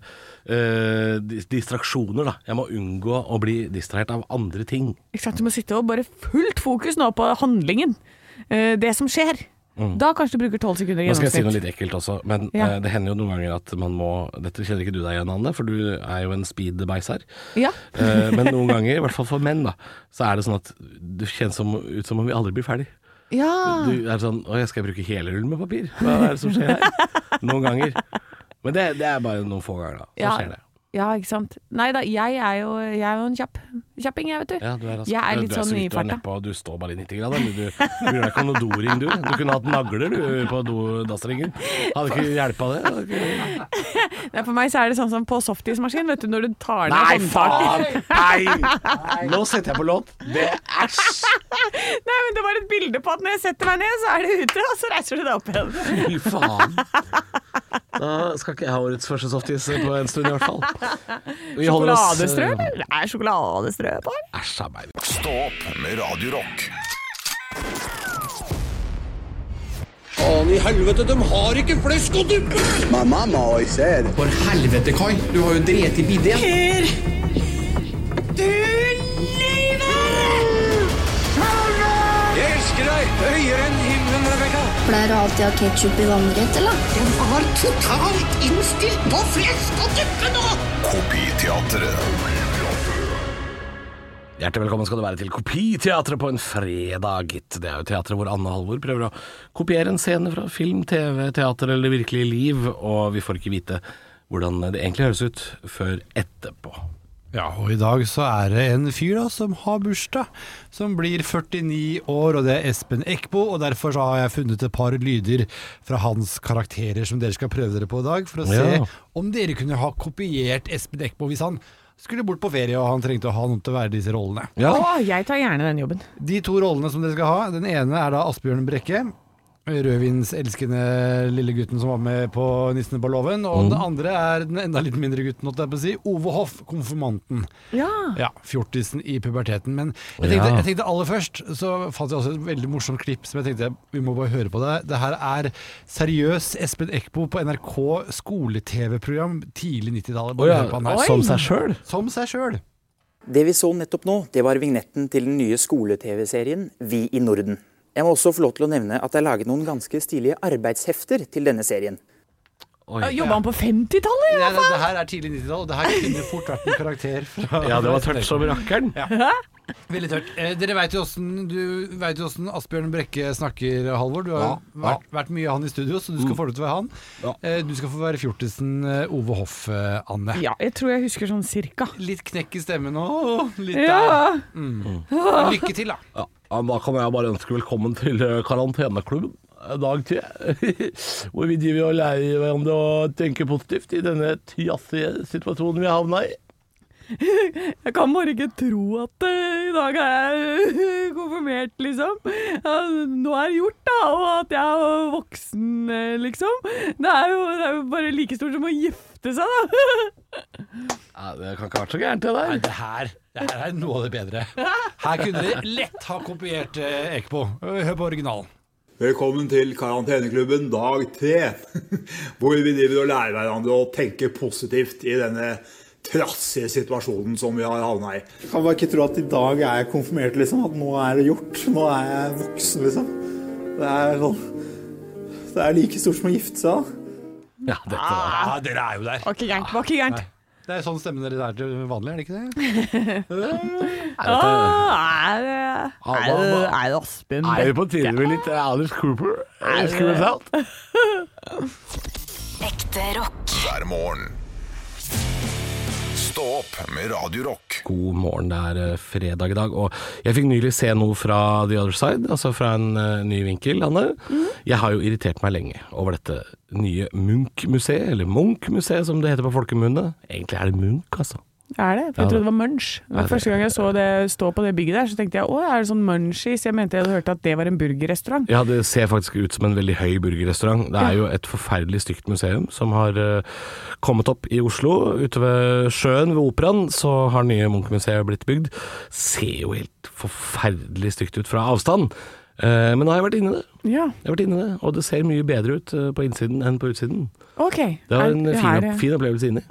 eh, dis- distraksjoner, da. Jeg må unngå å bli distrahert av andre ting.
Ikke sant? Du må sitte og bare fullt fokus nå på handlingen. Eh, det som skjer. Da kanskje du bruker tolv sekunder i
Mm. Nå skal jeg si noe
gjennomsnitt.
litt ekkelt også, men
Ja.
eh, det hender jo noen ganger at man må Dette kjenner ikke du deg igjen, Anne, for du er jo en speed-beis her.
Ja.
Eh, men noen ganger, i hvert fall for menn, da, så er det sånn at det kjennes som, ut som om vi aldri blir ferdig.
Ja.
Du er sånn Å, jeg skal bruke hele rullen med papir. Hva er det som skjer her? Noen ganger. Men det, det er bare noen få ganger, da. Så
Ja.
skjer det.
Ja, ikke sant. Nei da, jeg er jo, jeg er jo en kjapp, kjapping, jeg, vet du.
Ja, du er, rask.
jeg er litt
du er så
sånn i
vidt Du, er
farta.
nedpå, og du står bare i 90 grader. men Du, du bryr deg ikke om noe doring, du. Du kunne hatt nagler du, på do, dassringen. Hadde ikke hjelpa det. Hadde ikke...
Nei, For meg så er det sånn som på softismaskin, vet du, når du tar ned
Nei,
håndtaket.
faen! Nei! Nå setter jeg på låt. Det Æsj!
Nei, men det var et bilde på at når jeg setter meg ned, så er det ute, og så reiser du deg opp igjen.
Fy faen. Da skal ikke jeg ha årets første softis på en stund, i hvert fall. Vi holder oss- eh,
Sjokoladestrø, eller? Det er sjokoladestrø på den.
Æsj a meg.
Stå opp med Radio Rock.
Faen i helvete, de har ikke flesk å duppe! My mama always said For helvete, Kai. Du har jo drept i bidé. Du lyver! Jeg elsker deg høyere enn himmelen, Rebekka.
Pleier du alltid å ha ketsjup i vannrett, eller?
Kopiteatret.
Hjertelig velkommen skal du være til Kopiteatret på en fredag, gitt. Det er jo teatret hvor Anne Halvor prøver å kopiere en scene fra film, TV, teater eller det virkelige liv, og vi får ikke vite hvordan det egentlig høres ut før etterpå.
Ja, og i dag så er det en fyr da som har bursdag, som blir 49 år, og det er Espen Eckbo. Og derfor så har jeg funnet et par lyder fra hans karakterer som dere skal prøve dere på i dag, for å
Ja.
se om dere kunne ha kopiert Espen Eckbo hvis han skulle bort på ferie og han trengte å ha noen til å være disse rollene.
Ja.
Å, jeg tar gjerne den jobben.
De to rollene som dere skal ha, den ene er da Asbjørn Brekke. Rødvinselskende lille gutten som var med på Nissene på låven.
Mm.
Og den andre er den enda litt mindre gutten, holdt jeg på å si. Ove Hoff, konfirmanten.
Ja.
Ja, fjortisen i puberteten. Men jeg
Ja.
tenkte, jeg tenkte aller først så fant jeg også et veldig morsomt klipp som jeg tenkte vi må bare høre på det. Det her er seriøs Espen Eckbo på NRK skole-TV-program tidlig 90-tallet. Bare
Å ja,
hør på han her.
som seg sjøl?
Som seg sjøl.
Det vi så nettopp nå, det var vignetten til den nye skole-TV-serien Vi i Norden. Jeg må også få lov til å nevne at det er laget noen ganske stilige arbeidshefter til denne serien.
Jobba han på 50-tallet?
Det,
Ja?
det, det her er tidlig 90-tall, og det her kunne fort vært en karakter fra
Ja, det var tørt som rakkeren.
Veldig tørt. Eh, dere veit jo åssen du vet jo hvordan Asbjørn Brekke snakker, Halvor. Du har
Ja, ja. Mm.
vært, vært mye han i studio, så du skal få lov til å være han.
Ja.
Eh, du skal få være fjortisen eh, Ove Hoff, eh, Anne.
Ja, jeg tror jeg husker sånn cirka.
Litt knekk i stemmen og litt der.
Ja.
Lykke til, da.
Ja, ja, da kan jeg bare ønske velkommen til eh, karanteneklubben. eh, Dag tre, hvor vi driver og lærer hverandre å tenke positivt i denne trassige situasjonen vi havna i.
Jeg kan bare ikke tro at eh, i dag er jeg konfirmert, liksom. Ja, nå er det gjort, da, og at jeg er voksen, eh, liksom. Det er jo, det er jo bare like stort som å gifte seg, da.
Ja, det kan ikke ha vært så gærent, det der.
Det her, det her er noe av det bedre. Her kunne dere lett ha kopiert eh, Ekbo. Hør på originalen.
Velkommen til karanteneklubben dag tre, hvor vi driver og lærer hverandre å tenke positivt i denne trassige situasjonen som vi har havna i.
Jeg kan bare ikke tro at i dag er jeg konfirmert, liksom. At nå er det gjort. Nå er jeg voksen, liksom. Det er sånn Det er like stort som å gifte seg. da.
Ja, dette var
Ja, dere er jo der.
Var ikke gærent. Var ikke gærent.
Det er sånn stemmen deres er til vanlig, er det ikke det?
Åh, Ah, er det
Er det-
Er det Aspen
Er vi på tide med litt eh, Alice Cooper? Eh, Screw us out.
Ekte rock.
hver morgen. Stå opp med Radio Rock.
God morgen, det er eh, fredag i dag. Og jeg fikk nylig se noe fra The Other Side, altså fra en eh, ny vinkel, Anne. Jeg har jo irritert meg lenge over dette nye Munch-museet, eller Munch-museet som det heter på folkemunne. Egentlig er det Munch, altså.
Er det? For jeg trodde
Ja, det-
det var Munch. Men
det-
Første gang jeg så det stå på det bygget der, så tenkte jeg å, er det sånn Munchies? Jeg mente jeg hadde hørt at det var en burgerrestaurant.
Ja, det ser faktisk ut som en veldig høy burgerrestaurant. Det er jo et forferdelig stygt museum som har eh, kommet opp i Oslo. Ute ved sjøen, ved Operaen, så har nye Munch-museet blitt bygd. Ser jo helt forferdelig stygt ut fra avstand. Eh, men nå har jeg vært inne i det.
Ja,
Jeg har vært inne i det, og det ser mye bedre ut eh, på innsiden enn på utsiden.
ok.
Det var
Er-
en fin,
her-
opp- fin opplevelse inni.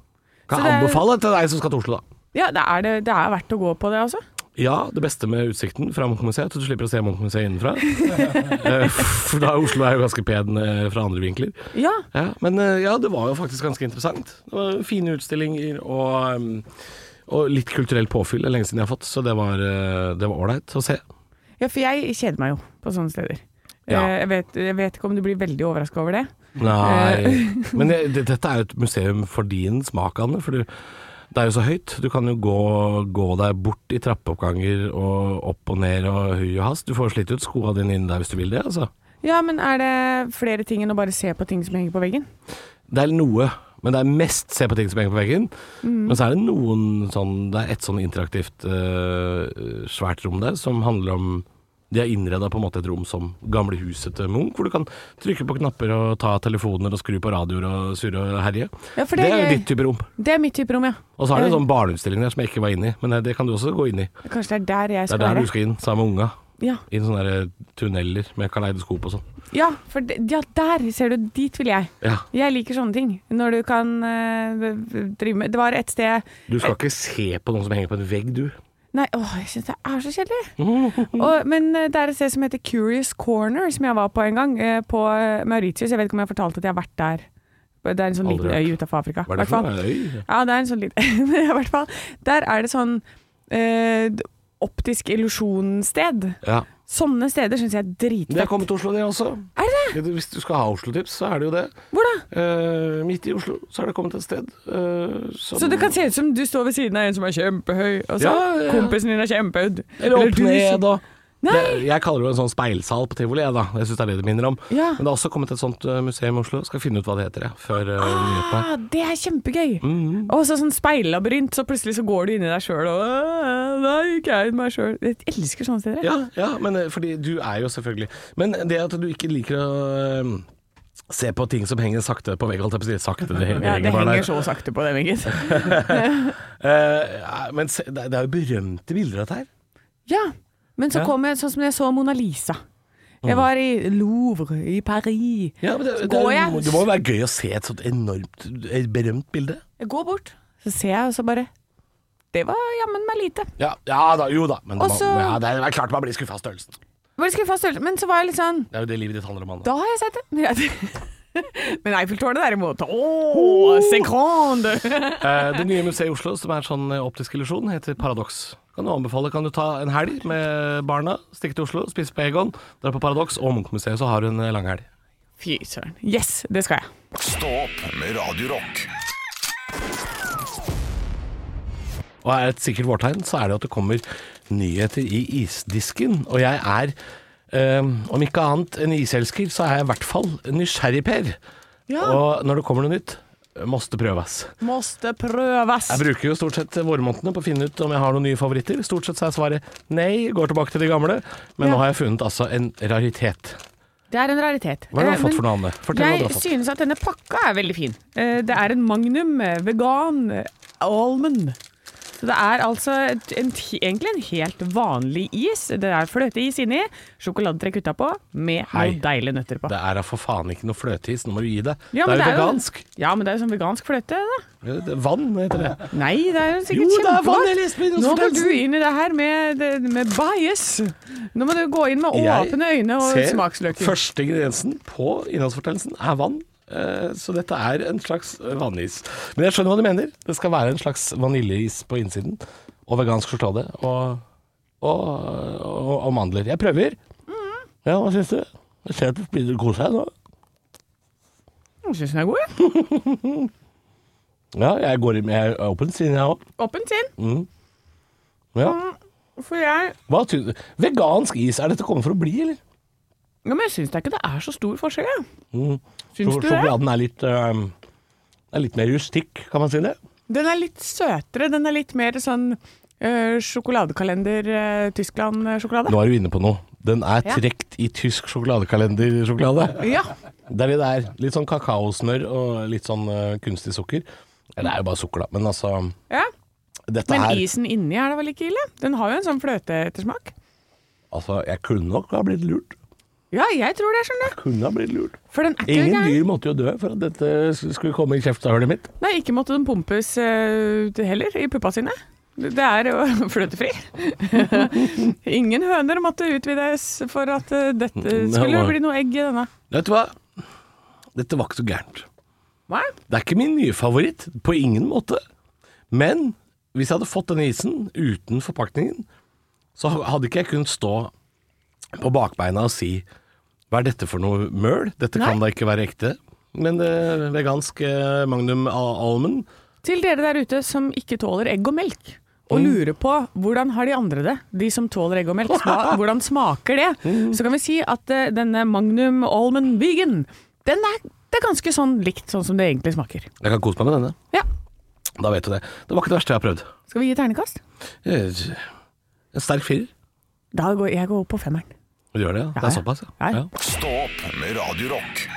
Kan
Så det er-
anbefale til deg som skal til Oslo, da.
Ja, det er, det, det er verdt å gå på det, altså.
Ja, det beste med utsikten fra Munch-museet, er at du slipper å se Munch-museet innenfra. Eh, For da Oslo er jo ganske pen eh, fra andre vinkler.
Ja.
Ja, men eh, ja, det var jo faktisk ganske interessant. Det var fine utstillinger og, mm, og litt kulturelt påfyll. Det er lenge siden jeg har fått, så det var eh, det var ålreit å se.
ja, for jeg kjeder meg jo på sånne steder.
Ja.
Eh, Jeg, vet, jeg vet ikke om du blir veldig overraska over det.
Nei, men det, det, dette er jo et museum for din smak, Anne. For du, det er jo så høyt. Du kan jo gå, gå deg bort i trappeoppganger og opp og ned og hui og hast. Du får slitt ut skoa dine inni deg hvis du vil det, altså.
Ja, men er det flere ting enn å bare se på ting som henger på veggen?
Det er noe, men det er mest se på ting som henger på veggen.
Mm.
Men så er det noen sånn Det er et sånn interaktivt eh, svært rom der som handler om de har innreda på en måte et rom som gamle huset til Munch, hvor du kan trykke på knapper og ta telefoner og skru på radioer og surre og herje.
Ja, for
det, er jo
det-
ditt type rom.
Det er mitt type rom, ja.
Og så er det en sånn barneutstilling der som jeg ikke var inne i, men eh, det kan du også gå inn i.
Kanskje det er der jeg
Det er
skal
der
være.
du skal inn, sammen med unga.
Ja.
I sånne der eh, tunneler med kaleidoskop og sånn.
ja, for det, ja, der ser du. Dit vil jeg.
Ja.
Jeg liker sånne ting. Når du kan eh, drive med Det var et sted
Du skal ikke se på noen som henger på en vegg, du.
Nei, åh, jeg syns det er så kjedelig. Og, men eh, det er et sted som heter Curious Corner, som jeg var på en gang, eh, på eh, Mauritius. Jeg vet ikke om jeg har fortalt at jeg har vært der. Det er en sånn liten
Aldri
øy
hørt.
utenfor Afrika.
Hva er det
Hvertfall.
for en øy?
Ja, det er en sånn liten Men i hvert fall, der er det sånn eh, optisk illusjonssted.
Ja.
Sånne steder syns jeg er
Det er
dritfett.
kommet til Oslo, det også.
Er det det?
Ja, det- Hvis du skal ha Oslo-tips, så er det jo det.
Hvor da?
Eh, midt i Oslo så er det kommet et sted eh, som
Så det kan se ut som du står ved siden av en som er kjempehøy, og så
Ja, ja, ja.
kompisen din er kjempehøy.
Eller opp
du-
ned og
Nei.
det, Jeg kaller det jo en sånn speilsal på tivoli, jeg da. Jeg syns det er det det minner om.
Ja.
Men det har også kommet et sånt eh, museum i Oslo. Skal finne ut hva det heter, jeg, før eh, nyhetene.
Ah, det er kjempegøy!
Mhm.
Og så sånn speillabyrint, så plutselig så går du inn i deg sjøl og «Åh, Da gikk jeg inn i meg sjøl. Jeg elsker sånne steder. jeg.
Ja, ja, men eh, fordi du er jo selvfølgelig Men det at du ikke liker å eh, se på ting som henger sakte på veggen, holdt jeg på å si. Sakte, det henger,
Ja, det
bare der.
henger så sakte på det, Vigget.
Eh, men se, det er det er jo berømte bilder av dette her.
Ja, men så
Ja. Mm.
kom jeg sånn som jeg så Mona Lisa. Jeg var i Louvre i Paris.
Ja, men det,
så
det,
går
er-
jeg,
det må jo være gøy å se et sånt enormt et berømt bilde.
jeg går bort, så ser jeg, og så bare Det var jammen meg lite.
Ja, ja da, jo da. Men det,
Og så-
må- ja, det er det er klart man blir skuffa av størrelsen.
Bare skuffa størrelse. Men så var jeg litt sånn
Det er jo det livet ditt handler om. Anne.
Da har jeg sett det. Men jeg- Men Eiffeltårnet derimot Ååå, seconde!
Eh, det nye museet i Oslo, som er sånn eh, optisk illusjon, heter Paradox. Kan du anbefale, kan du ta en helg med barna, stikke til Oslo, spise på Egon, dra på Paradox, og Munchmuseet, så har du en eh, lang helg.
Fy søren. Yes, det skal jeg.
Stå opp med Radio Rock.
Og er et sikkert vårtegn, så er det at det kommer nyheter i isdisken. Og jeg er, eh, om ikke annet en iselsker, så er jeg i hvert fall nysgjerrig-Per.
Ja.
Og når det kommer noe nytt, måste prøves.
Måste prøves.
Jeg bruker jo stort sett vårmånedene på å finne ut om jeg har noen nye favoritter. Stort sett så er svaret nei, går tilbake til de gamle. Men
Ja.
nå har jeg funnet altså en raritet.
Det er en raritet.
Hva har du
Eh,
fått
men
for noe, Anne? Fortell hva du
Jeg
har fått.
synes at denne pakka er veldig fin. Eh, Det er en Magnum eh, vegan eh, almond. Så det er altså et- en, t- egentlig en helt vanlig is. Det er fløteis inni, sjokoladetrekk utapå, med
Hei.
noen deilige nøtter på.
Det er da for faen ikke noe fløteis, nå må du gi deg.
Ja,
det
men
er jo vegansk. Eh,
ja, men det er jo sånn vegansk fløte, da.
Det er Vann heter det.
Nei, det er jo sikkert
Jo, det er vann,
kjempegodt.
Elisabeth,
Nå går
Johnsen.
du inn i det her med, det- med bias. Nå må du gå inn med
Jeg
åpne øyne og
ser
smaksløker.
Første ingrediensen på innholdsfortegnelsen er vann. eh, Så dette er en slags vannis. Men jeg skjønner hva du mener. Det skal være en slags vaniljeis på innsiden. Og vegansk sjokolade. Og, og, og, og mandler. Jeg prøver.
Mm.
Ja, hva syns du? Jeg ser at du begynner å kose deg nå.
Jeg syns den er god, jeg.
Ja, jeg går i- jeg er åpen siden jeg òg.
Åpent sinn.
Mm. Ja.
Mm. For jeg
Hva syns du? Vegansk is, er dette kommet for å bli, eller?
Ja, men jeg syns da ikke det er så stor forskjell, jeg.
Mm.
Syns
Sjok-
du det?
Sjokoladen er litt, eh, er litt mer rustikk, kan man si det?
Den er litt søtere. Den er litt mer sånn eh, sjokoladekalender-Tyskland-sjokolade.
Nå er du inne på noe. Den er
Ja.
trekt i tysk sjokoladekalendersjokolade.
Ja.
Det er det det er. Litt sånn kakaosmør og litt sånn eh, kunstig sukker. Eller det er jo bare sukker, da. Men altså
ja.
Dette
Men
her
isen inni er da vel ikke ille? Den har jo en sånn fløteettersmak.
Altså, jeg kunne nok ha blitt lurt.
Ja, jeg tror det, skjønner du.
Kunne ha blitt lurt.
For den er ikke
Ingen
gæren.
dyr måtte jo dø for at dette skulle komme i kjeftehullet mitt.
Nei, ikke måtte den pumpes eh, heller, i puppa sine. Det er jo fløtefri. Ingen høner måtte utvides for at eh, dette skulle
Mm, var-
bli noe egg i denne.
Vet du hva? Dette var ikke så gærent.
Nei?
Det er ikke min nye favoritt, på ingen måte. Men hvis jeg hadde fått denne isen uten forpakningen, så hadde ikke jeg kunnet stå på bakbeina og si hva er dette for noe møl? Dette kan da ikke være ekte. Men eh, vegansk eh, Magnum Al- Almond
Til dere der ute som ikke tåler egg og melk, og
Mm.
lurer på hvordan har de andre det, de som tåler egg og melk, sma- hvordan smaker det, så kan vi si at eh, denne Magnum Almond Vegan, den er, det er ganske sånn likt sånn som det egentlig smaker.
Jeg kan kose meg med denne.
Ja.
Da vet du det. Det var ikke det verste jeg har prøvd.
Skal vi gi ternekast?
Eh, En sterk firer.
Da går jeg går opp på femmeren.
Du gjør det, ja? Det
Ja, ja.
er såpass, ja?
Ja, ja.
ja.
Stå opp med Radio Rock.